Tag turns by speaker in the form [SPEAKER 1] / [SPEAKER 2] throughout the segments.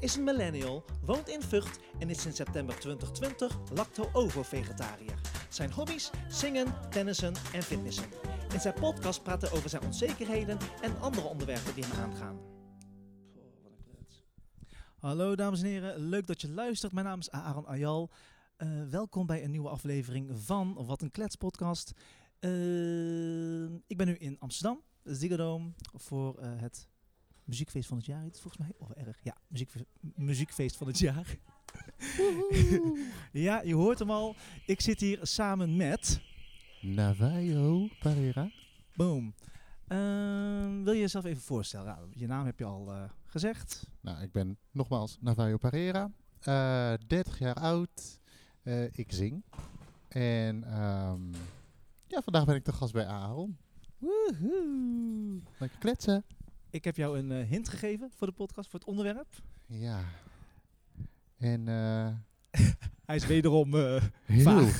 [SPEAKER 1] is een millennial, woont in Vught en is sinds september 2020 lacto-ovo-vegetariër. Zijn hobby's? Zingen, tennissen en fitnessen. In zijn podcast praat hij over zijn onzekerheden en andere onderwerpen die hem aangaan. Oh, wat een klets. Hallo dames en heren, leuk dat je luistert. Mijn naam is Aaron Ayal. Eh, welkom bij een nieuwe aflevering van Wat een Klets podcast. Eh, ik ben nu in Amsterdam, Ziggo Dome, voor eh, het muziekfeest van het jaar. heet het Volgens mij, of erg, ja, muziekfeest, muziekfeest van het jaar. ja, je hoort hem al. Ik zit hier samen met...
[SPEAKER 2] Navajo Pereira.
[SPEAKER 1] Boom. Ehm, wil je jezelf even voorstellen? Ja, je naam heb je al eh, gezegd.
[SPEAKER 2] Nou, ik ben nogmaals Navajo Pereira. eh, 30 jaar oud. Eh, ik zing. En ehm, ja, vandaag ben ik te gast bij Aaron.
[SPEAKER 1] Woehoe.
[SPEAKER 2] Lekker kletsen.
[SPEAKER 1] Ik heb jou een eh, hint gegeven voor de podcast, voor het onderwerp.
[SPEAKER 2] Ja. En eh,
[SPEAKER 1] Hij is wederom... eh,
[SPEAKER 2] heel
[SPEAKER 1] Vaag.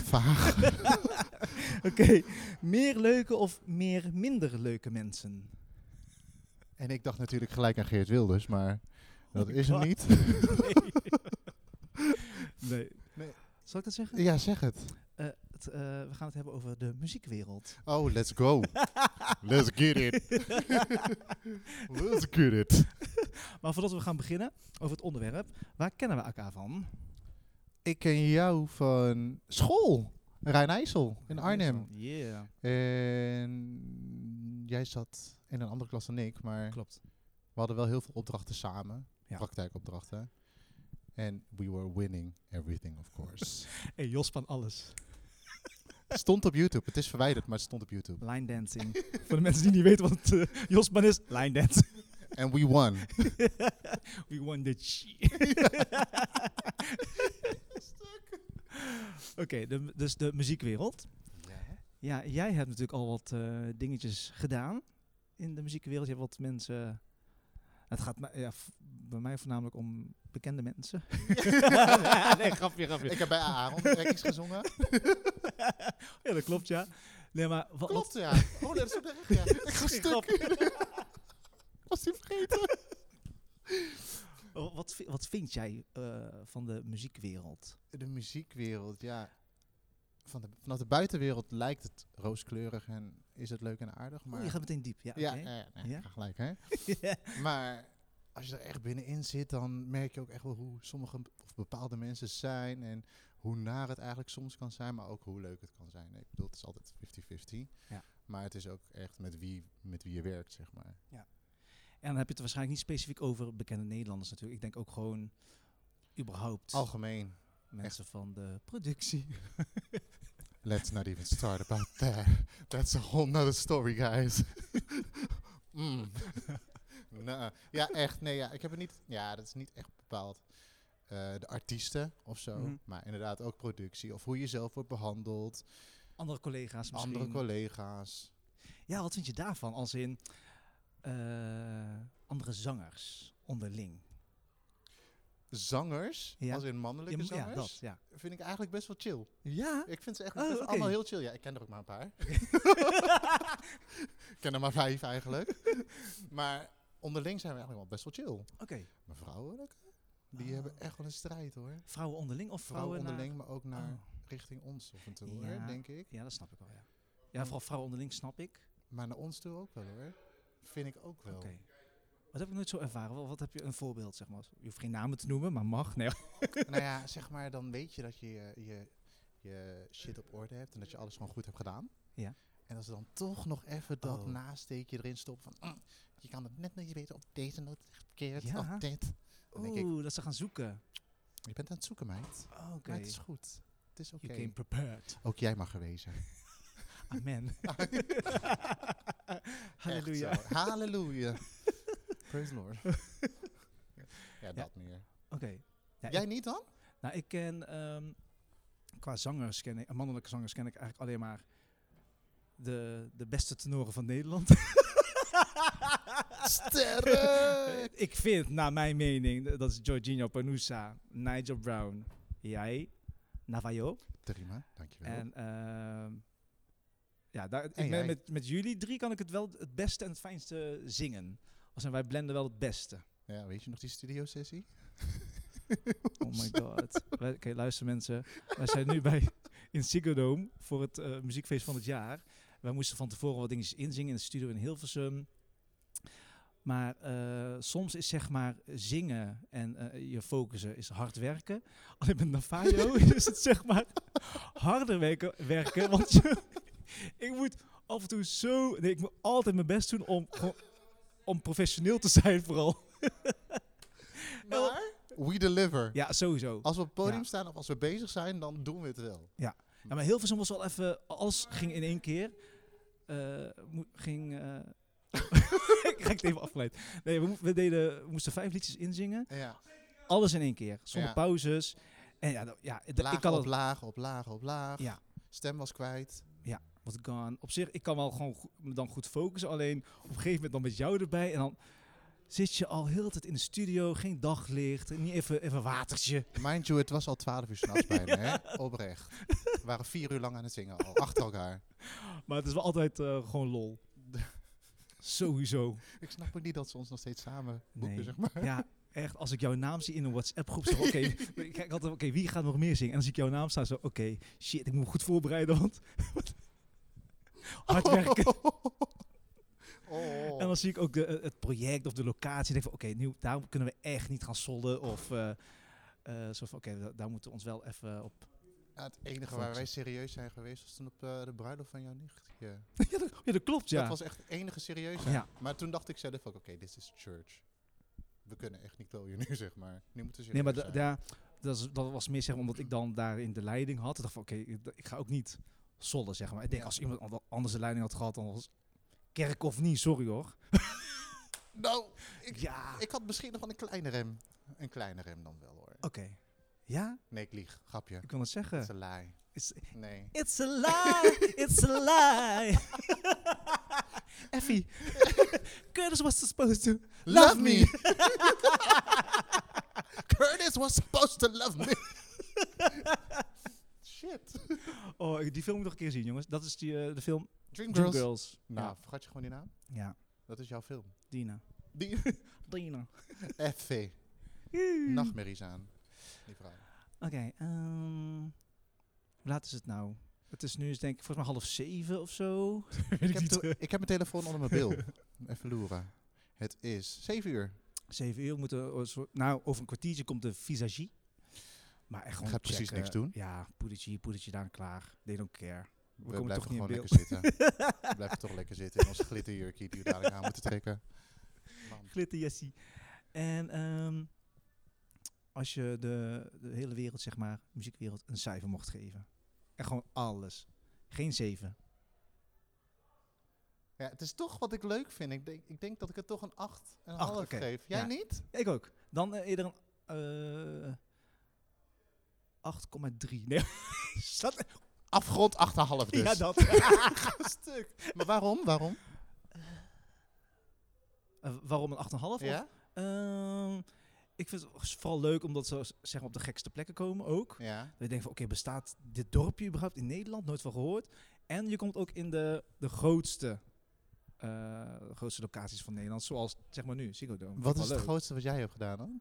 [SPEAKER 2] vaag.
[SPEAKER 1] Oké, meer leuke of meer minder leuke mensen?
[SPEAKER 2] En ik dacht natuurlijk gelijk aan Geert Wilders, maar dat is hem
[SPEAKER 1] God.
[SPEAKER 2] niet.
[SPEAKER 1] Nee. nee.
[SPEAKER 2] Nee.
[SPEAKER 1] Zal ik dat zeggen?
[SPEAKER 2] ja, zeg het.
[SPEAKER 1] Eh, het, eh, we gaan het hebben over de muziekwereld.
[SPEAKER 2] Oh, let's go. let's get it. let's get it.
[SPEAKER 1] Maar voordat we gaan beginnen over het onderwerp, waar kennen we elkaar van?
[SPEAKER 2] Ik ken jou van school. Rijnijssel in Arnhem.
[SPEAKER 1] Yeah,
[SPEAKER 2] En jij zat in een andere klas dan ik, maar
[SPEAKER 1] klopt.
[SPEAKER 2] we hadden wel heel veel opdrachten samen.
[SPEAKER 1] Ja.
[SPEAKER 2] Praktijkopdrachten. En we were winning everything, of course.
[SPEAKER 1] Hey, Jos van alles.
[SPEAKER 2] stond op YouTube. Het is verwijderd, maar het stond op YouTube.
[SPEAKER 1] Line dancing. Voor de mensen die niet weten wat eh, Jos van is, line dance.
[SPEAKER 2] En we won.
[SPEAKER 1] We won the chi. Oké, de- dus de muziekwereld. Ja, jij hebt natuurlijk al wat eh, dingetjes gedaan in de muziekwereld. Je hebt wat mensen. Het gaat mij- ja, v- bij mij voornamelijk om bekende mensen. nee, grapje, grapje.
[SPEAKER 2] Ik heb bij Aaron rekkings gezongen.
[SPEAKER 1] ja, dat klopt, ja. Nee, maar wat,
[SPEAKER 2] Klopt, ja. Oh, nee, dat is ook echt, ja. Ik ga stuk. Was die vergeten?
[SPEAKER 1] wat, wat, vi- wat vind jij eh, van de muziekwereld?
[SPEAKER 2] De muziekwereld, ja. Van de, vanaf de buitenwereld lijkt het rooskleurig en is het leuk en aardig, maar...
[SPEAKER 1] oh, je gaat meteen diep. Ja,
[SPEAKER 2] Ja,
[SPEAKER 1] oké.
[SPEAKER 2] ja, ja, nee,
[SPEAKER 1] Ja?
[SPEAKER 2] ik ga gelijk, hè. Maar als je er echt binnenin zit, dan merk je ook echt wel hoe sommige b- of bepaalde mensen zijn. En hoe naar het eigenlijk soms kan zijn, maar ook hoe leuk het kan zijn. Ik bedoel, het is altijd 50-50.
[SPEAKER 1] Ja.
[SPEAKER 2] Maar het is ook echt met wie, met wie je werkt, zeg maar.
[SPEAKER 1] En dan heb je het waarschijnlijk niet specifiek over bekende Nederlanders natuurlijk. Ik denk ook gewoon überhaupt
[SPEAKER 2] Algemeen,
[SPEAKER 1] mensen van de productie.
[SPEAKER 2] let's not even start about that. That's a whole nother story, guys. Mm. Nou, Ja, echt. Nee, ja, ik heb het niet... Ja, dat is niet echt bepaald. eh, de artiesten of zo.
[SPEAKER 1] Mhm.
[SPEAKER 2] Maar inderdaad ook productie. Of hoe je zelf wordt behandeld.
[SPEAKER 1] Andere collega's Dus misschien.
[SPEAKER 2] andere collega's.
[SPEAKER 1] ja, wat vind je daarvan? Als in eh, andere zangers onderling.
[SPEAKER 2] Zangers,
[SPEAKER 1] Ja.
[SPEAKER 2] als in
[SPEAKER 1] Ja,
[SPEAKER 2] mannelijke
[SPEAKER 1] m- ja,
[SPEAKER 2] zangers,
[SPEAKER 1] dat, ja.
[SPEAKER 2] vind ik eigenlijk best wel chill.
[SPEAKER 1] Ja?
[SPEAKER 2] Ik vind ze echt
[SPEAKER 1] Oh,
[SPEAKER 2] best wel
[SPEAKER 1] oké.
[SPEAKER 2] allemaal heel chill. Ja, ik ken er ook maar een paar. ik ken er maar vijf eigenlijk. maar onderling zijn we eigenlijk wel best wel chill.
[SPEAKER 1] Oké.
[SPEAKER 2] Maar vrouwen, lekker, die hebben echt wel een strijd hoor. Vrouwen,
[SPEAKER 1] Vrouwen onderling of Ah. vrouwen, naar-
[SPEAKER 2] onderling, maar ook naar
[SPEAKER 1] Oh,
[SPEAKER 2] richting ons af en toe hoor,
[SPEAKER 1] Ja.
[SPEAKER 2] denk ik.
[SPEAKER 1] Ja, dat snap ik wel, ja. Ja, vooral vrouwen onderling snap ik.
[SPEAKER 2] Maar naar ons toe ook wel hoor. Vind ik ook wel.
[SPEAKER 1] Oké. Wat heb ik nooit zo ervaren? Wat- Wat heb je een voorbeeld, zeg maar? Je hoeft geen namen te noemen, maar mag. Nee.
[SPEAKER 2] nou ja, zeg maar, dan weet je dat je, je je- je shit op orde hebt en dat je alles gewoon goed hebt gedaan.
[SPEAKER 1] Ja.
[SPEAKER 2] En als ze dan toch nog even dat
[SPEAKER 1] Oh.
[SPEAKER 2] nasteekje erin stoppen van, "Mm, je kan het net niet weten op deze noot is echt verkeerd
[SPEAKER 1] Ja.
[SPEAKER 2] of dit. Dan denk ik,
[SPEAKER 1] Oeh, dat ze gaan zoeken.
[SPEAKER 2] je bent aan het zoeken, meid.
[SPEAKER 1] Oh, Oké.
[SPEAKER 2] Maar het is goed. Het is oké.
[SPEAKER 1] You came prepared.
[SPEAKER 2] Ook jij mag gewezen.
[SPEAKER 1] Amen.
[SPEAKER 2] Echt
[SPEAKER 1] Halleluja. Oké,
[SPEAKER 2] zo. Halleluja. Praise the Lord. ja, dat meer.
[SPEAKER 1] Ja,
[SPEAKER 2] jij
[SPEAKER 1] ik,
[SPEAKER 2] niet dan?
[SPEAKER 1] nou, ik ken ehm, qua zangers ken ik, eh, mannelijke zangers ken ik eigenlijk alleen maar de, de beste tenoren van Nederland.
[SPEAKER 2] Sterren!
[SPEAKER 1] ik vind, naar mijn mening, dat is Jorginho Panusa, Nigel Brown, jij, Navajo.
[SPEAKER 2] Terima, dankjewel.
[SPEAKER 1] En ehm, ja, daar, ik
[SPEAKER 2] En
[SPEAKER 1] ben
[SPEAKER 2] jij?
[SPEAKER 1] met, met jullie drie kan ik het wel het beste en het fijnste zingen. Als in, wij blenden wel het beste.
[SPEAKER 2] ja, weet je nog die studiosessie?
[SPEAKER 1] Oh my god. Wij- Oké, luister mensen. Wij zijn nu bij in Ziggo Dome voor het eh, muziekfeest van het jaar. Wij moesten van tevoren wat dingetjes inzingen in de studio in Hilversum. Maar eh, soms is zeg maar zingen en eh, je focussen is hard werken. Alleen met Navajo is het zeg maar harder werken, werken want je- ik moet af en toe zo... Nee, ik moet altijd mijn best doen om, gewoon- om professioneel te zijn vooral.
[SPEAKER 2] Maar we deliver.
[SPEAKER 1] Ja, sowieso.
[SPEAKER 2] Als we op het podium
[SPEAKER 1] Ja.
[SPEAKER 2] staan of als we bezig zijn, dan doen we het wel.
[SPEAKER 1] Ja, maar Hilversum was wel even... Alles ging in één keer. Eh, mo- ging... eh, ik ga het even afgeleid. Nee, we, mo- we deden, we moesten vijf liedjes inzingen.
[SPEAKER 2] Ja.
[SPEAKER 1] Alles in één keer. Zonder
[SPEAKER 2] Ja.
[SPEAKER 1] pauzes. En ja, nou, ja d-
[SPEAKER 2] Laag
[SPEAKER 1] ik kan
[SPEAKER 2] op
[SPEAKER 1] het...
[SPEAKER 2] laag, op laag, op laag.
[SPEAKER 1] Ja.
[SPEAKER 2] Stem was kwijt.
[SPEAKER 1] Wat gone. Op zich, ik kan wel gewoon go- me dan goed focussen. Alleen op een gegeven moment dan met jou erbij. En dan zit je al heel de tijd in de studio. Geen daglicht. Niet even, even watertje.
[SPEAKER 2] Mind you, het was al 12 uur s'nachts bijna, hè? Oprecht. We waren vier uur lang aan het zingen al, achter elkaar.
[SPEAKER 1] Maar het is wel altijd eh, gewoon lol. Sowieso.
[SPEAKER 2] Ik snap ook niet dat ze ons nog steeds samen boeken,
[SPEAKER 1] Nee.
[SPEAKER 2] zeg maar.
[SPEAKER 1] Ja, echt. Als ik jouw naam zie in een WhatsApp-groep, zeg ik, oké, ik kijk altijd, oké, wie gaat nog meer zingen? En als ik jouw naam sta, zo, oké, shit, ik moet me goed voorbereiden, want hard werken.
[SPEAKER 2] Oh.
[SPEAKER 1] En dan zie ik ook de, eh, het project of de locatie. Ik denk van, oké, nu daar kunnen we echt niet gaan solden of eh, eh, zo van, oké, da- daar moeten we ons wel even op.
[SPEAKER 2] Ja, het enige waar wij serieus zijn geweest was toen op eh, de bruiloft van jouw nichtje.
[SPEAKER 1] ja, dat, ja, dat klopt, ja.
[SPEAKER 2] Dat was echt het enige serieus. zijn.
[SPEAKER 1] ja.
[SPEAKER 2] Maar toen dacht ik zelf ook, oké, dit is church. We kunnen echt niet klooien nu, zeg maar. Nu moeten ze
[SPEAKER 1] Nee, maar da-
[SPEAKER 2] serieus zijn.
[SPEAKER 1] daar, dat, is- dat was meer zeg maar, omdat ik dan daarin de leiding had. Ik dacht van, oké, ik- ik ga ook niet solden, zeg maar. Ik denk,
[SPEAKER 2] Ja.
[SPEAKER 1] als iemand an- anders de leiding had gehad, dan was kerk of niet, sorry hoor.
[SPEAKER 2] Nou, ik,
[SPEAKER 1] Ja.
[SPEAKER 2] ik had misschien nog wel een kleine rem. Een kleine rem dan wel, hoor.
[SPEAKER 1] Oké. Ja,
[SPEAKER 2] Nee, ik lieg. Grapje.
[SPEAKER 1] ik kan het
[SPEAKER 2] Dat is
[SPEAKER 1] zeggen.
[SPEAKER 2] een lie.
[SPEAKER 1] It's,
[SPEAKER 2] Nee.
[SPEAKER 1] it's a lie, it's a lie. Effie, Curtis was dus supposed to. Love me.
[SPEAKER 2] Curtis was supposed to love me. Shit.
[SPEAKER 1] Oh, ik- die film moet ik nog een keer zien, jongens. Dat is die, eh, de film Dream
[SPEAKER 2] Dreamgirls.
[SPEAKER 1] Girls.
[SPEAKER 2] Nou,
[SPEAKER 1] Ja.
[SPEAKER 2] vergat je gewoon die naam?
[SPEAKER 1] ja,
[SPEAKER 2] Dat is jouw film.
[SPEAKER 1] Dina.
[SPEAKER 2] Die
[SPEAKER 1] Dina. Nou.
[SPEAKER 2] FV.
[SPEAKER 1] Mm.
[SPEAKER 2] Nachtmerries aan. Die vrouw.
[SPEAKER 1] Oké, ehm, hoe laat is het nou? Het is nu, is denk ik, volgens mij half zeven of zo. Weet
[SPEAKER 2] Ik heb, toe- ik heb mijn telefoon onder mijn bil. Even loeren. Het is 7 uur.
[SPEAKER 1] Zeven uur moeten. we- oh, zo- Nou, over een kwartiertje komt de visagie. Maar echt gewoon
[SPEAKER 2] Gaat precies
[SPEAKER 1] checken.
[SPEAKER 2] niks doen.
[SPEAKER 1] Ja, poedertje hier, poedertje daar, klaar. They don't care.
[SPEAKER 2] We,
[SPEAKER 1] komen
[SPEAKER 2] blijven
[SPEAKER 1] toch niet in
[SPEAKER 2] gewoon lekker
[SPEAKER 1] beeld.
[SPEAKER 2] zitten. We blijven toch lekker zitten in onze glitterjurkie die we dadelijk aan moeten trekken. Man.
[SPEAKER 1] Glitterjessie. En ehm, als je de, de hele wereld, zeg maar, muziekwereld, een cijfer mocht geven. En gewoon alles. Geen zeven.
[SPEAKER 2] Ja, het is toch wat ik leuk vind. Ik denk, ik denk dat ik het toch een 8 en een
[SPEAKER 1] Acht,
[SPEAKER 2] half
[SPEAKER 1] oké.
[SPEAKER 2] geef. Jij
[SPEAKER 1] Ja.
[SPEAKER 2] niet?
[SPEAKER 1] Ik ook. Dan eh, eerder een eh, 8,3. Nee, is dat-
[SPEAKER 2] Afgrond 8,5 dus.
[SPEAKER 1] ja, dat.
[SPEAKER 2] stuk. Maar waarom? Waarom?
[SPEAKER 1] Eh, waarom een 8,5? Of
[SPEAKER 2] Ja?
[SPEAKER 1] Ehm, ik vind het vooral leuk omdat ze zeg maar, op de gekste plekken komen ook.
[SPEAKER 2] Ja.
[SPEAKER 1] Dat je denkt van, oké, bestaat dit dorpje überhaupt in Nederland? Nooit van gehoord. En je komt ook in de, de grootste, eh, de grootste locaties van Nederland, zoals zeg maar nu, Ziggo Dome. Vind
[SPEAKER 2] Wat
[SPEAKER 1] ik
[SPEAKER 2] is
[SPEAKER 1] wel
[SPEAKER 2] het
[SPEAKER 1] leuk.
[SPEAKER 2] grootste wat jij hebt gedaan dan?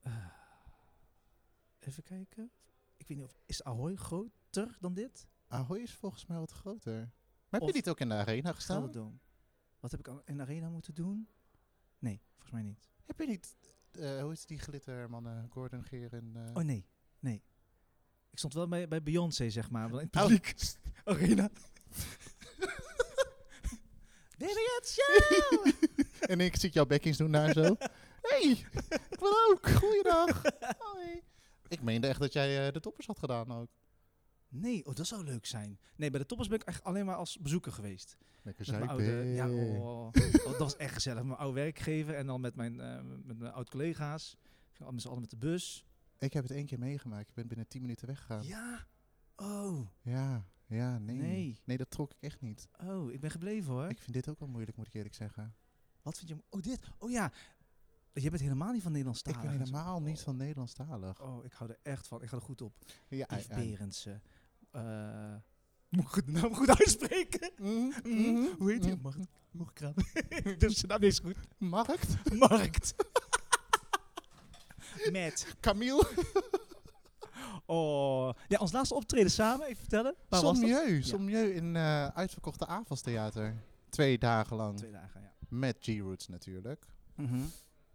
[SPEAKER 1] Eh, even kijken. Ik weet niet of, is Ahoy groter dan dit?
[SPEAKER 2] Ahoy is volgens mij wat groter. Maar heb
[SPEAKER 1] Of-
[SPEAKER 2] je niet ook in de arena gestaan?
[SPEAKER 1] Gelderdome. Wat heb ik al in de arena moeten doen? Nee, volgens mij niet.
[SPEAKER 2] Heb je niet, eh, hoe is die glittermannen, Gordon Geer en... eh,
[SPEAKER 1] Oh nee, nee. Ik stond wel bij, bij Beyoncé, zeg maar. wel In het
[SPEAKER 2] Oh.
[SPEAKER 1] publiek. Arena. Baby, it's you!
[SPEAKER 2] en ik zie jouw bekkings doen daar zo. hey, ik wil ook. Goeiedag. Hoi. Ik meende echt dat jij eh, de toppers had gedaan ook.
[SPEAKER 1] Nee, oh, dat zou leuk zijn. Nee, bij de toppers ben ik echt alleen maar als bezoeker geweest.
[SPEAKER 2] Lekker
[SPEAKER 1] Met mijn oude, ja, oh, oh, dat was echt gezellig. Mijn oude werkgever en dan met mijn, eh, met mijn oud-collega's. Ging al met z'n allen met de bus.
[SPEAKER 2] Ik heb het één keer meegemaakt. Ik ben binnen 10 minuten weggegaan. Ja,
[SPEAKER 1] Ja. Oh,
[SPEAKER 2] ja, nee.
[SPEAKER 1] Nee.
[SPEAKER 2] Nee, dat trok ik echt niet.
[SPEAKER 1] oh, ik ben gebleven hoor.
[SPEAKER 2] Ik vind dit ook wel moeilijk, moet ik eerlijk zeggen.
[SPEAKER 1] Wat vind je... mo- Oh, dit. Oh ja. Jij bent helemaal niet van Nederlands
[SPEAKER 2] Ik ben helemaal niet
[SPEAKER 1] Oh.
[SPEAKER 2] van Nederlandstalig.
[SPEAKER 1] Oh, ik hou er echt van. Ik ga er goed op.
[SPEAKER 2] Ja,
[SPEAKER 1] Yves
[SPEAKER 2] ei, ei.
[SPEAKER 1] Berendsen. Eh, moet ik de naam goed uitspreken?
[SPEAKER 2] Mm,
[SPEAKER 1] Mhm.
[SPEAKER 2] mm,
[SPEAKER 1] Hoe heet die?
[SPEAKER 2] mm.
[SPEAKER 1] Mag, mag ik
[SPEAKER 2] Mhm.
[SPEAKER 1] raden? dus zijn naam is goed.
[SPEAKER 2] Markt?
[SPEAKER 1] Markt. met.
[SPEAKER 2] Camille.
[SPEAKER 1] Oh. Ja, ons laatste optreden samen, even vertellen. Waar was dat?
[SPEAKER 2] Sommieu. Sommieu in eh, uitverkochte Avals Theater. Twee dagen lang.
[SPEAKER 1] Twee dagen, ja.
[SPEAKER 2] Met G-Roots natuurlijk.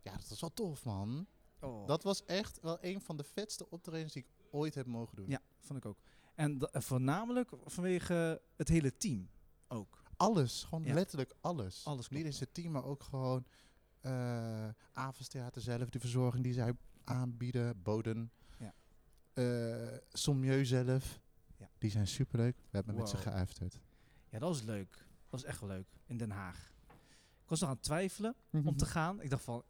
[SPEAKER 2] Ja, dat was wel tof, man.
[SPEAKER 1] oh.
[SPEAKER 2] Mm-hmm. Dat was echt wel een van de vetste optredens die ik ooit heb mogen doen.
[SPEAKER 1] Ja, vond ik ook. En da- eh, voornamelijk vanwege het hele team ook.
[SPEAKER 2] Alles, gewoon
[SPEAKER 1] Ja.
[SPEAKER 2] letterlijk alles.
[SPEAKER 1] Alles klopt,
[SPEAKER 2] Niet eens
[SPEAKER 1] ja.
[SPEAKER 2] het team, maar ook gewoon eh Avals Theater zelf, de verzorging die zij aanbieden, boden.
[SPEAKER 1] Ja.
[SPEAKER 2] Eh, Sommieu zelf.
[SPEAKER 1] Ja.
[SPEAKER 2] Die zijn superleuk. We hebben met ze
[SPEAKER 1] Wow.
[SPEAKER 2] geuiferd.
[SPEAKER 1] Ja, dat was leuk. Dat was echt wel leuk. In Den Haag. Ik was nog aan het twijfelen.
[SPEAKER 2] Mm-hmm.
[SPEAKER 1] om te gaan. Ik dacht van, ik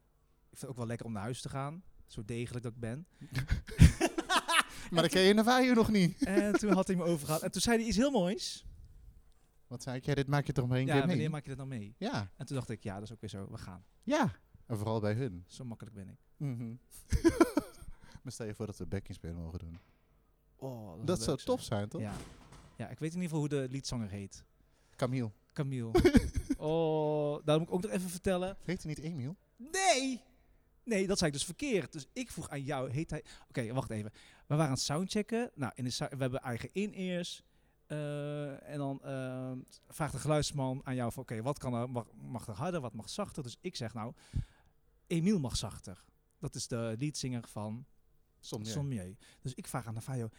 [SPEAKER 1] vind het ook wel lekker om naar huis te gaan. Zo degelijk dat ik ben.
[SPEAKER 2] maar dan ken je Navajo nog niet.
[SPEAKER 1] En toen had hij me overgehaald. En toen zei hij iets heel moois.
[SPEAKER 2] Wat zei ik? Ja, dit maak je toch maar één
[SPEAKER 1] ja,
[SPEAKER 2] keer
[SPEAKER 1] wanneer
[SPEAKER 2] mee?
[SPEAKER 1] maak je dat nou mee?
[SPEAKER 2] Ja,
[SPEAKER 1] En toen dacht ik, ja, dat is ook weer zo. We gaan.
[SPEAKER 2] ja. En vooral bij hun.
[SPEAKER 1] Zo makkelijk ben ik. Mhm.
[SPEAKER 2] maar stel je voor dat we backing spelen mogen doen.
[SPEAKER 1] Oh,
[SPEAKER 2] Dat zou
[SPEAKER 1] leuk
[SPEAKER 2] tof zijn, toch?
[SPEAKER 1] zijn. Ja. ja, ik weet in ieder geval hoe de liedzanger heet.
[SPEAKER 2] Camille.
[SPEAKER 1] Camille. oh, daar moet ik ook nog even vertellen.
[SPEAKER 2] Heet hij niet Emiel?
[SPEAKER 1] Nee! Nee, dat zei ik dus verkeerd. Dus ik vroeg aan jou, heet hij... Oké, wacht even. We waren aan het soundchecken. Nou, in de sou- we hebben eigen in-ears. Eh, en dan eh, vraagt de geluidsman aan jou van... Oké, wat kan er, mag, mag er harder, wat mag zachter? Dus ik zeg nou, Emiel mag zachter. Dat is de leadzanger van
[SPEAKER 2] Soms.
[SPEAKER 1] Sommier. Dus ik vraag aan Navajo,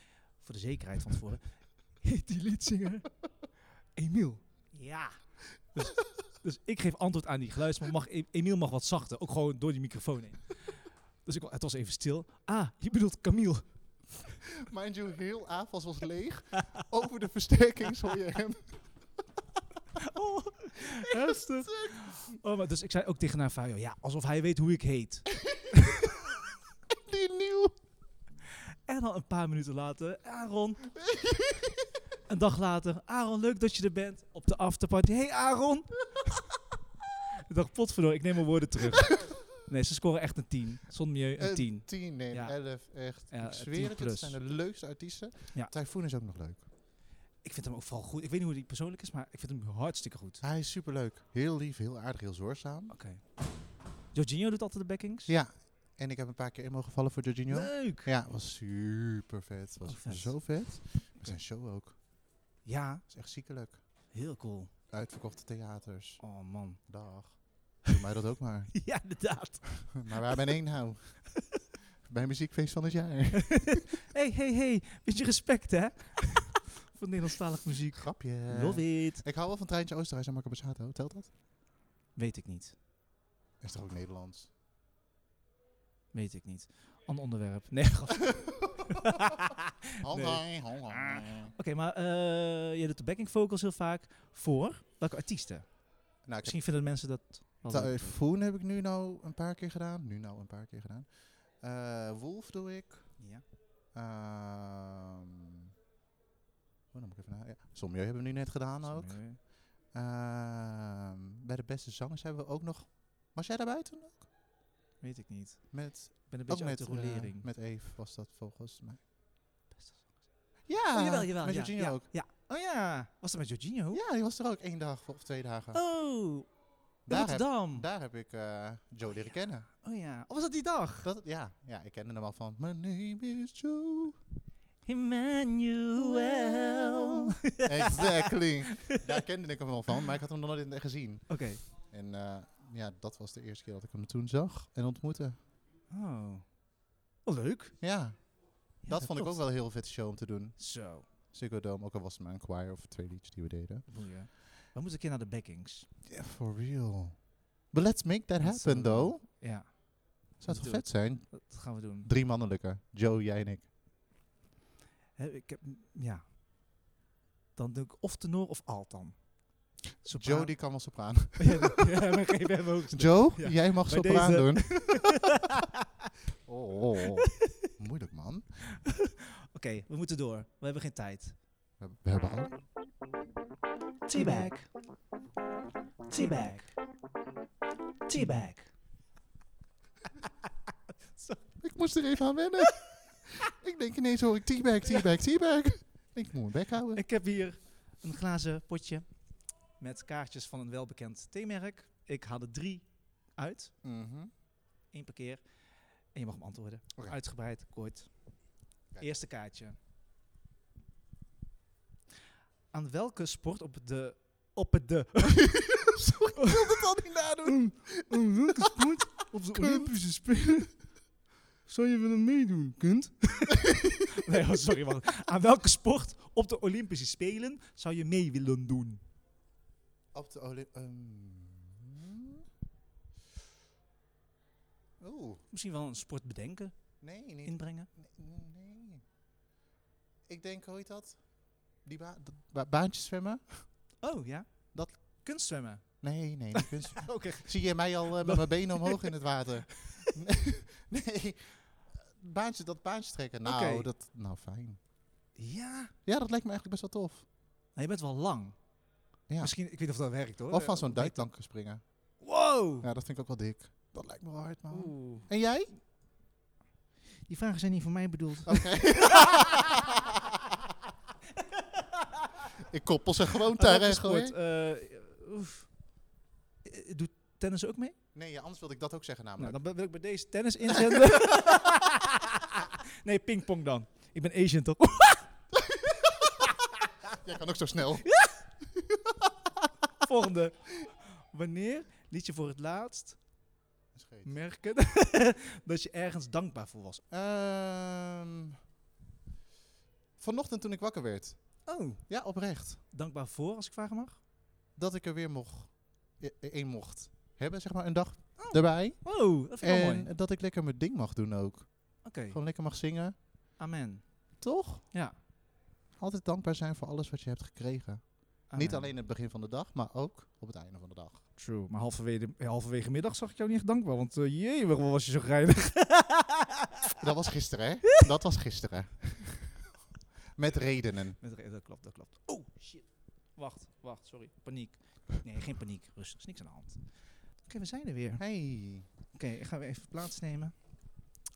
[SPEAKER 1] voor de zekerheid van tevoren... heet die leadzanger Emiel? Ja. Dus, dus ik geef antwoord aan die geluidsman. Mag, E- Emiel mag wat zachter, ook gewoon door die microfoon heen. Dus ik, wa- het was even stil. Ah, je bedoelt Camille.
[SPEAKER 2] Mind you, heel avonds was leeg. Over de versterking hoor je hem.
[SPEAKER 1] Oh, heftig. Oh, maar dus ik zei ook tegen Navajo, ja, alsof hij weet hoe ik heet.
[SPEAKER 2] Die nieuw.
[SPEAKER 1] En dan een paar minuten later, Aaron. een dag later, Aaron, leuk dat je er bent. Op de afterparty, hey Aaron. ik dacht, potverdorie, ik neem mijn woorden terug. Nee, ze scoren echt een 10. Zonder milieu een
[SPEAKER 2] Een
[SPEAKER 1] 10.
[SPEAKER 2] 10, nee,
[SPEAKER 1] Ja.
[SPEAKER 2] 11. Echt.
[SPEAKER 1] Ja,
[SPEAKER 2] ik
[SPEAKER 1] 10
[SPEAKER 2] zweer het, het
[SPEAKER 1] plus.
[SPEAKER 2] zijn de leukste artiesten.
[SPEAKER 1] Ja.
[SPEAKER 2] Typhoon is ook nog leuk.
[SPEAKER 1] Ik vind hem ook vooral goed. Ik weet niet hoe hij persoonlijk is, maar ik vind hem hartstikke goed.
[SPEAKER 2] Hij is superleuk. Heel lief, heel aardig, heel zorgzaam.
[SPEAKER 1] Oké. Jorginho doet altijd de backings.
[SPEAKER 2] Ja. En ik heb een paar keer in mogen vallen voor Jorginho.
[SPEAKER 1] Leuk.
[SPEAKER 2] Ja, was super vet. Was
[SPEAKER 1] Oh, vet.
[SPEAKER 2] zo vet. Maar zijn show ook.
[SPEAKER 1] Ja,
[SPEAKER 2] is echt ziekelijk.
[SPEAKER 1] heel cool.
[SPEAKER 2] Uitverkochte theaters.
[SPEAKER 1] Oh man.
[SPEAKER 2] Dag. Doe mij dat ook maar.
[SPEAKER 1] Ja, inderdaad.
[SPEAKER 2] maar waar ben ik nou? Bij muziekfeest van het jaar.
[SPEAKER 1] hey, hey, hey. Beetje respect, hè? Voor Nederlandstalig muziek.
[SPEAKER 2] Grapje.
[SPEAKER 1] Love it.
[SPEAKER 2] Ik hou wel van Treintje Oosterhuis en Marco Borsato. Telt dat?
[SPEAKER 1] Weet ik niet.
[SPEAKER 2] Is toch ook Nederlands?
[SPEAKER 1] Weet ik niet. Ander onderwerp. Nee, grap.
[SPEAKER 2] Hoi,
[SPEAKER 1] Nee. Ah.
[SPEAKER 2] hoi, hoi.
[SPEAKER 1] Oké, maar eh, je doet de backing vocals heel vaak voor welke artiesten?
[SPEAKER 2] Nou, ik heb
[SPEAKER 1] Misschien vinden mensen dat wel leuk.
[SPEAKER 2] Typhoon heb ik nu nou een paar keer gedaan. Nu nou een paar keer gedaan. Eh, Wolf doe ik.
[SPEAKER 1] Ja.
[SPEAKER 2] Ehm oh, dan moet ik even na. Ja. Sommieu hebben we nu net gedaan ook.
[SPEAKER 1] eh,
[SPEAKER 2] Ehm, bij de beste zangers hebben we ook nog. Was jij daarbij toen ook?
[SPEAKER 1] Weet ik niet.
[SPEAKER 2] Met,
[SPEAKER 1] Ik ben een
[SPEAKER 2] ook
[SPEAKER 1] beetje uit
[SPEAKER 2] met,
[SPEAKER 1] de
[SPEAKER 2] eh,
[SPEAKER 1] rolering.
[SPEAKER 2] met Eve was dat volgens mij.
[SPEAKER 1] Beste
[SPEAKER 2] Ja,
[SPEAKER 1] oh, jawel, jawel.
[SPEAKER 2] Ah, met
[SPEAKER 1] ja,
[SPEAKER 2] Jorginho
[SPEAKER 1] ja,
[SPEAKER 2] ook.
[SPEAKER 1] Ja. Oh ja. Was dat met Jorginho?
[SPEAKER 2] Ja, die was er ook één dag of twee dagen.
[SPEAKER 1] Oh, in
[SPEAKER 2] daar, heb,
[SPEAKER 1] Rotterdam.
[SPEAKER 2] daar heb ik eh, Joe leren kennen.
[SPEAKER 1] oh ja. Of was dat die dag?
[SPEAKER 2] Dat, ja, ja, ik kende hem al van. My name is Joe.
[SPEAKER 1] Emmanuel. Oké.
[SPEAKER 2] exactly. Daar kende ik hem al van, maar ik had hem nog nooit echt gezien.
[SPEAKER 1] Oké.
[SPEAKER 2] En eh, ja, dat was de eerste keer dat ik hem toen zag en ontmoette.
[SPEAKER 1] Oh. Oh, leuk.
[SPEAKER 2] Ja,
[SPEAKER 1] Ja,
[SPEAKER 2] dat vond ik
[SPEAKER 1] klopt.
[SPEAKER 2] ook wel een heel vet show om te doen.
[SPEAKER 1] Zo.
[SPEAKER 2] Ziggo Dome, ook al was het maar een choir of twee liedjes die we deden.
[SPEAKER 1] Boeien. We moeten een keer naar de backings.
[SPEAKER 2] Yeah, for real. But let's make that
[SPEAKER 1] Dat
[SPEAKER 2] happen,
[SPEAKER 1] zullen we
[SPEAKER 2] though.
[SPEAKER 1] Ja,
[SPEAKER 2] Zou toch
[SPEAKER 1] Doe
[SPEAKER 2] vet zijn?
[SPEAKER 1] dat gaan we doen.
[SPEAKER 2] Drie mannelijke. Joe, jij en ik.
[SPEAKER 1] Hè, ik heb, ja. Dan doe ik of tenor of alt dan. Sopraan-
[SPEAKER 2] Joe, die kan wel sopraan.
[SPEAKER 1] ja, ja, we geven hem ook een-
[SPEAKER 2] Joe,
[SPEAKER 1] Ja.
[SPEAKER 2] jij mag
[SPEAKER 1] Bij
[SPEAKER 2] sopraan
[SPEAKER 1] deze.
[SPEAKER 2] doen. oh, oh, oh. Moeilijk, man.
[SPEAKER 1] Oké, we moeten door. We hebben geen tijd.
[SPEAKER 2] We, we hebben al...
[SPEAKER 3] Teabag. Teabag. Teabag.
[SPEAKER 2] Ik moest er even aan wennen. ik denk ineens hoor ik teabag, teabag, teabag. Ik moet mijn bek houden.
[SPEAKER 1] Ik heb hier een glazen potje met kaartjes van een welbekend theemerk. Ik haal er drie uit.
[SPEAKER 2] Mhm.
[SPEAKER 1] één per keer. En je mag hem antwoorden.
[SPEAKER 2] Oké.
[SPEAKER 1] Uitgebreid, kort.
[SPEAKER 2] Kijk.
[SPEAKER 1] Eerste kaartje. Aan welke sport op de... Op het de...
[SPEAKER 2] Sorry, ik wil het al niet nadoen.
[SPEAKER 1] Aan welke sport op de
[SPEAKER 2] Kunt.
[SPEAKER 1] Spelen zou je willen meedoen, kunt? nee, oh, sorry man. Aan welke sport op de Olympische Spelen zou je mee willen doen?
[SPEAKER 2] Op de Olymp... ehm. Oeh,
[SPEAKER 1] Misschien wel een sport bedenken,
[SPEAKER 2] nee, niet.
[SPEAKER 1] inbrengen.
[SPEAKER 2] Nee, nee. Ik denk, hoe heet dat? Die ba dat ba- baantje zwemmen?
[SPEAKER 1] Oh ja?
[SPEAKER 2] Dat- Ah,
[SPEAKER 1] Kunstzwemmen.
[SPEAKER 2] Nee, nee, niet kunst.
[SPEAKER 1] Oké.
[SPEAKER 2] Zie je mij al eh, met mijn benen omhoog in het water? Nee, nee. Baantje, dat baantje trekken. Nou,
[SPEAKER 1] Oké.
[SPEAKER 2] dat, nou fijn.
[SPEAKER 1] Ja.
[SPEAKER 2] Ja, dat lijkt me eigenlijk best wel tof.
[SPEAKER 1] Nou, je bent wel lang.
[SPEAKER 2] Ja.
[SPEAKER 1] Misschien, ik weet niet of dat werkt hoor.
[SPEAKER 2] Of van zo'n
[SPEAKER 1] Eh, weet-
[SPEAKER 2] duikplank springen.
[SPEAKER 1] Wow!
[SPEAKER 2] Ja, dat vind ik ook wel dik. Dat lijkt me wel hard, man.
[SPEAKER 1] Oeh.
[SPEAKER 2] En jij?
[SPEAKER 1] Die vragen zijn niet voor mij bedoeld.
[SPEAKER 2] Oké. ik koppel ze gewoon
[SPEAKER 1] Aan welke
[SPEAKER 2] daar
[SPEAKER 1] sport,
[SPEAKER 2] gewoon.
[SPEAKER 1] eh, oef. Eh, Doet tennis ook mee?
[SPEAKER 2] Nee, ja, anders wilde ik Ah, dat ook zeggen namelijk.
[SPEAKER 1] Nou, dan be- wil ik bij deze tennis inzenden. nee, pingpong dan. Ik ben Asian toch? Nou,
[SPEAKER 2] Jij kan ook zo snel.
[SPEAKER 1] Volgende. Wanneer liet je voor het laatst
[SPEAKER 2] Scheet.
[SPEAKER 1] merken dat je ergens dankbaar voor was?
[SPEAKER 2] Ehm, vanochtend toen ik wakker werd.
[SPEAKER 1] Oh,
[SPEAKER 2] Ja, oprecht.
[SPEAKER 1] dankbaar voor als ik vragen mag?
[SPEAKER 2] Dat ik er weer mocht. e- e- één mocht hebben, zeg maar, een dag erbij.
[SPEAKER 1] Oh, dat vind ik wel mooi.
[SPEAKER 2] En dat ik lekker mijn ding mag doen ook.
[SPEAKER 1] Oké,
[SPEAKER 2] Gewoon lekker mag zingen.
[SPEAKER 1] amen.
[SPEAKER 2] Toch?
[SPEAKER 1] Ja.
[SPEAKER 2] Altijd dankbaar zijn voor alles wat je hebt gekregen.
[SPEAKER 1] amen.
[SPEAKER 2] Niet alleen in het begin van de dag, maar ook op het einde van de dag.
[SPEAKER 1] True, maar halverwege, halverwege middag zag ik jou niet echt dankbaar, want eh jee, waarom was je zo grijnig?
[SPEAKER 2] Dat was gisteren, hè? Dat was gisteren. Met redenen.
[SPEAKER 1] Met re- Dat klopt, dat klopt. Oh, shit. Wacht, wacht, sorry. Paniek. Nee, geen paniek. Rustig, is niks aan de hand. Oké, we zijn er weer. Oké,
[SPEAKER 2] Hey,
[SPEAKER 1] ik ga weer even plaatsnemen.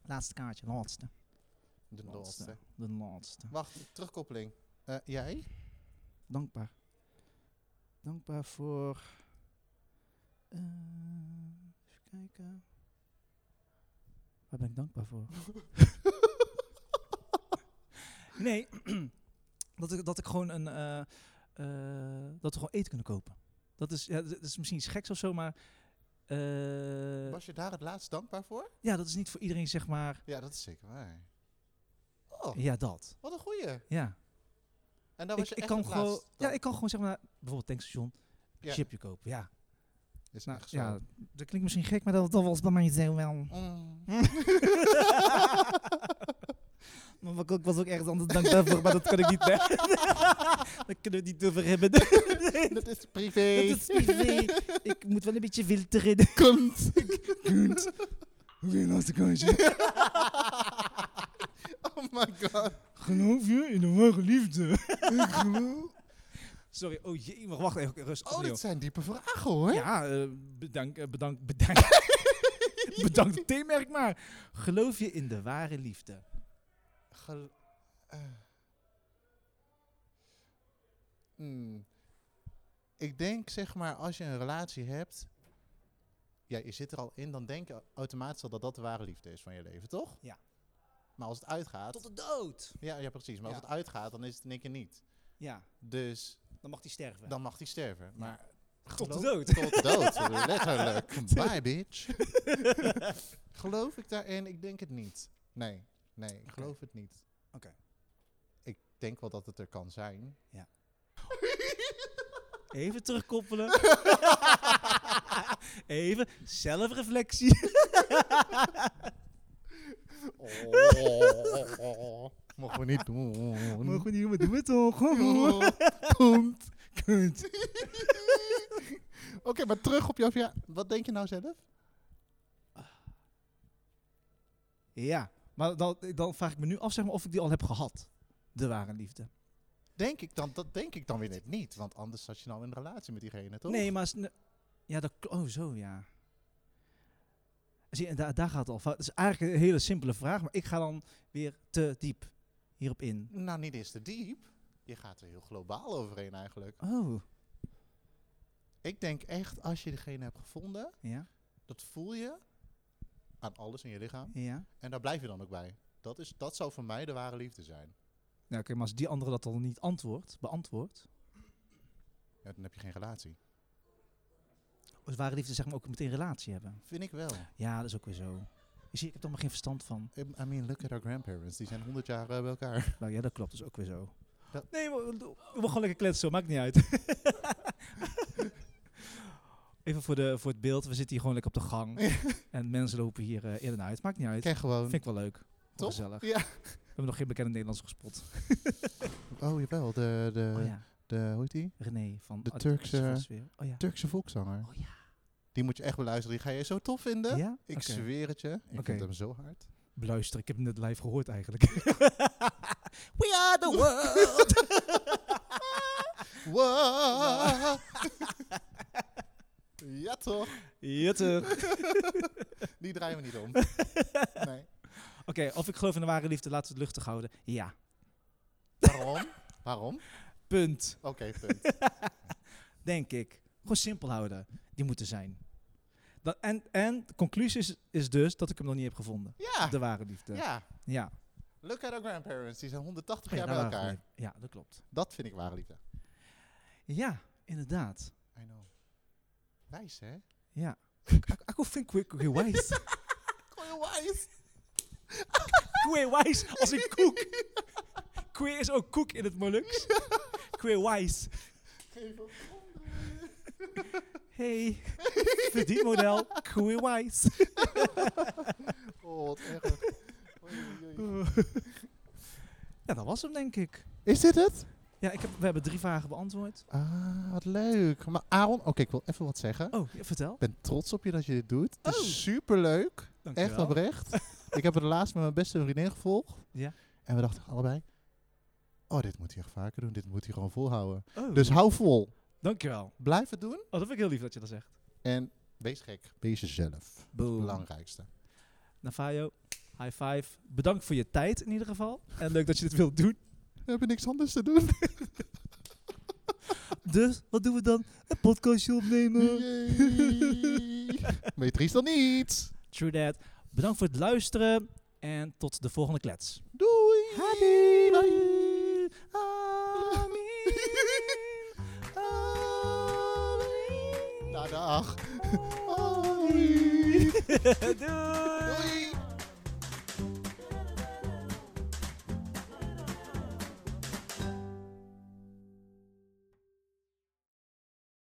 [SPEAKER 1] Laatste kaartje, laatste.
[SPEAKER 2] de
[SPEAKER 1] Laatste.
[SPEAKER 2] laatste.
[SPEAKER 1] De laatste.
[SPEAKER 2] Wacht, terugkoppeling. Eh, jij?
[SPEAKER 1] Dankbaar. Dankbaar voor... eh, even kijken. Waar ben ik dankbaar voor? nee, dat, ik, dat ik gewoon een... eh, eh, dat we gewoon eten kunnen kopen. Dat is, ja, dat is misschien iets geks of zo, maar... eh,
[SPEAKER 2] Was je daar het laatst dankbaar voor?
[SPEAKER 1] ja, dat is niet voor iedereen, zeg maar...
[SPEAKER 2] Ja, dat is zeker waar. Oh,
[SPEAKER 1] Ja, dat.
[SPEAKER 2] wat een goeie.
[SPEAKER 1] Ja.
[SPEAKER 2] En dan
[SPEAKER 1] Ik,
[SPEAKER 2] was je
[SPEAKER 1] ik,
[SPEAKER 2] echt
[SPEAKER 1] kan
[SPEAKER 2] het
[SPEAKER 1] gewoon,
[SPEAKER 2] laatst
[SPEAKER 1] ja,
[SPEAKER 2] dan?
[SPEAKER 1] ik kan gewoon, zeg maar, bijvoorbeeld tankstation,
[SPEAKER 2] Ja.
[SPEAKER 1] chipje kopen. Ja,
[SPEAKER 2] Is
[SPEAKER 1] Nou,
[SPEAKER 2] echt zo.
[SPEAKER 1] ja, dat klinkt misschien gek, maar dat, dat was bij mij zo wel.
[SPEAKER 2] Mm.
[SPEAKER 1] maar wat- ik was ook ergens anders dankbaar voor, maar dat kan ik niet meer. dat kunnen we niet over hebben. dat
[SPEAKER 2] Dat is privé.
[SPEAKER 1] is privé. Ik moet wel een beetje filteren.
[SPEAKER 2] Kunt.
[SPEAKER 1] Kunt. Oké, laatste kaartje.
[SPEAKER 2] oh my god.
[SPEAKER 1] Geloof je in de ware liefde? Sorry, oh jee, maar wacht even, rustig.
[SPEAKER 2] Oh,
[SPEAKER 1] opnieuw.
[SPEAKER 2] dit zijn diepe vragen hoor.
[SPEAKER 1] Ja, eh, bedankt, eh, bedankt, bedankt. bedankt het theemerk maar. Geloof je in de ware liefde?
[SPEAKER 2] Gel- eh. Hmm. Ik denk zeg maar als je een relatie hebt. Ja, je zit er al in, dan denk je automatisch al dat dat de ware liefde is van je leven, toch?
[SPEAKER 1] Ja.
[SPEAKER 2] Maar als het uitgaat.
[SPEAKER 1] Ah, Tot de dood.
[SPEAKER 2] Ja, ja, precies. Maar
[SPEAKER 1] Ja.
[SPEAKER 2] als het uitgaat, dan is het in één keer niet.
[SPEAKER 1] Ja,
[SPEAKER 2] Dus
[SPEAKER 1] dan mag die sterven.
[SPEAKER 2] dan mag hij sterven. Maar
[SPEAKER 1] Tot de
[SPEAKER 2] geloof-
[SPEAKER 1] dood.
[SPEAKER 2] Tot de dood. Letterlijk. Bye, bitch. geloof ik daarin? Ik denk het niet. Nee, nee, ik geloof het niet.
[SPEAKER 1] Oké.
[SPEAKER 2] Ik denk wel dat het er kan zijn.
[SPEAKER 1] Even terugkoppelen. Even zelfreflectie.
[SPEAKER 2] Oh, mogen we niet doen.
[SPEAKER 1] we niet doen, doen we toch?
[SPEAKER 2] Komt. Kunt. Oké, maar terug op jouw vraag. Wat denk je nou zelf?
[SPEAKER 1] Ja, maar dan, dan vraag ik me nu af zeg maar, of ik die al heb gehad. De ware liefde.
[SPEAKER 2] Denk ik dan, dat denk ik dan weer net niet. Want anders zat je nou in een relatie met diegene, toch?
[SPEAKER 1] Nee, maar... is ne- Ja, dat, kl- oh zo, ja. Zie, en daar, daar gaat het al fout. Het is eigenlijk een hele simpele vraag, maar ik ga dan weer te diep hierop in.
[SPEAKER 2] Nou, niet eens te diep. Je gaat er heel globaal overheen eigenlijk.
[SPEAKER 1] Oh,
[SPEAKER 2] Ik denk echt, als je degene hebt gevonden,
[SPEAKER 1] ja.
[SPEAKER 2] dat voel je. aan alles in je lichaam.
[SPEAKER 1] Ja.
[SPEAKER 2] En daar blijf je dan ook bij. Dat, is, dat zou voor mij de ware liefde zijn.
[SPEAKER 1] Ja, oké, Nou, maar als die andere dat dan niet antwoordt, beantwoordt.
[SPEAKER 2] Ja, dan heb je geen relatie.
[SPEAKER 1] Dus ware liefde zeg maar ook meteen relatie hebben.
[SPEAKER 2] Vind ik wel.
[SPEAKER 1] Ja, dat is ook weer zo. Je ziet, ik heb er maar geen verstand van.
[SPEAKER 2] I I mean, look at our grandparents. Die zijn 100 jaar eh, bij elkaar.
[SPEAKER 1] Nou ja, dat klopt, dat is ook weer zo.
[SPEAKER 2] Dat-
[SPEAKER 1] Nee, we, we- we mogen gewoon lekker kletsen, maakt niet uit. Even voor, de, voor het beeld, we zitten hier gewoon lekker op de gang. en mensen lopen hier eh, in en uit, maakt niet uit.
[SPEAKER 2] Kijk gewoon.
[SPEAKER 1] Vind ik wel leuk. Toch?
[SPEAKER 2] Toch?
[SPEAKER 1] Gezellig.
[SPEAKER 2] Ja.
[SPEAKER 1] We hebben nog geen bekende Nederlanders gespot.
[SPEAKER 2] Oh, jawel. De, de,
[SPEAKER 1] oh ja,
[SPEAKER 2] de, hoe heet die?
[SPEAKER 1] René van...
[SPEAKER 2] de
[SPEAKER 1] Ad-
[SPEAKER 2] Turkse-
[SPEAKER 1] Adventist Weer. Oh ja.
[SPEAKER 2] Turkse volkszanger.
[SPEAKER 1] Oh ja.
[SPEAKER 2] Die moet je echt beluisteren. Die ga je zo tof vinden.
[SPEAKER 1] Ja?
[SPEAKER 2] Ik
[SPEAKER 1] Oké.
[SPEAKER 2] zweer het je. Ik
[SPEAKER 1] Oké.
[SPEAKER 2] vind hem zo hard.
[SPEAKER 1] Beluister, ik heb hem net live gehoord eigenlijk. We are the world.
[SPEAKER 2] Wow. ja toch?
[SPEAKER 1] Jutter.
[SPEAKER 2] Die draaien we niet om. Nee.
[SPEAKER 1] Oké, of ik geloof in de ware liefde, laten we het luchtig houden. Ja,
[SPEAKER 2] Waarom? Waarom?
[SPEAKER 1] punt.
[SPEAKER 2] Oké, punt.
[SPEAKER 1] Denk ik. Gewoon simpel houden. Die moeten zijn. Dat, en, en de conclusie is, is dus dat ik hem nog niet heb gevonden.
[SPEAKER 2] Ja.
[SPEAKER 1] De ware liefde.
[SPEAKER 2] Ah. Ja.
[SPEAKER 1] ja.
[SPEAKER 2] Look at our grandparents. Die zijn 180 jaar
[SPEAKER 1] Ja,
[SPEAKER 2] bij
[SPEAKER 1] ware
[SPEAKER 2] nou elkaar.
[SPEAKER 1] liefde. ja, dat klopt.
[SPEAKER 2] Dat vind ik ware liefde.
[SPEAKER 1] Ja, inderdaad.
[SPEAKER 2] I know. Wijs, hè?
[SPEAKER 1] Ja. Ik vind quick wijs.
[SPEAKER 2] Goeie wijs.
[SPEAKER 1] Queer wijs als een koek. Queer is ook koek in het Molux. Queer wijs. Hey, verdienmodel. Queer wijs.
[SPEAKER 2] Oh, wat erg. Oei, oei, oei.
[SPEAKER 1] Ja, dat was hem denk ik.
[SPEAKER 2] Is dit het?
[SPEAKER 1] Ja, ik heb, we hebben drie vragen beantwoord.
[SPEAKER 2] Ah, wat leuk. Maar Aaron, oké, ik wil even wat zeggen.
[SPEAKER 1] Oh, ja, vertel.
[SPEAKER 2] Ik ben trots op je dat je dit doet. Het
[SPEAKER 1] Oh.
[SPEAKER 2] is superleuk.
[SPEAKER 1] Dankjewel.
[SPEAKER 2] Echt oprecht. ik heb het laatst met mijn beste vriendin gevolgd.
[SPEAKER 1] Ja.
[SPEAKER 2] En we dachten allebei, oh, dit moet hij echt vaker doen. Dit moet hij gewoon volhouden.
[SPEAKER 1] Oh,
[SPEAKER 2] Dus hou vol.
[SPEAKER 1] dankjewel. Oh,
[SPEAKER 2] Blijf het doen.
[SPEAKER 1] dat vind ik heel lief dat je dat zegt.
[SPEAKER 2] En wees gek. Wees jezelf. Dat is het
[SPEAKER 1] Boom.
[SPEAKER 2] belangrijkste.
[SPEAKER 1] Navajo, high five. Bedankt voor je tijd in ieder geval. En leuk dat je dit wilt doen.
[SPEAKER 2] We hebben niks anders te doen.
[SPEAKER 1] Dus, wat doen we dan? Een podcastje opnemen.
[SPEAKER 2] Yay. Weet triest dan niet.
[SPEAKER 1] True that. Bedankt voor het luisteren. En tot de volgende klets.
[SPEAKER 2] Doei. Bye. Nou, dag. Amen.
[SPEAKER 1] Doei.
[SPEAKER 2] Doei.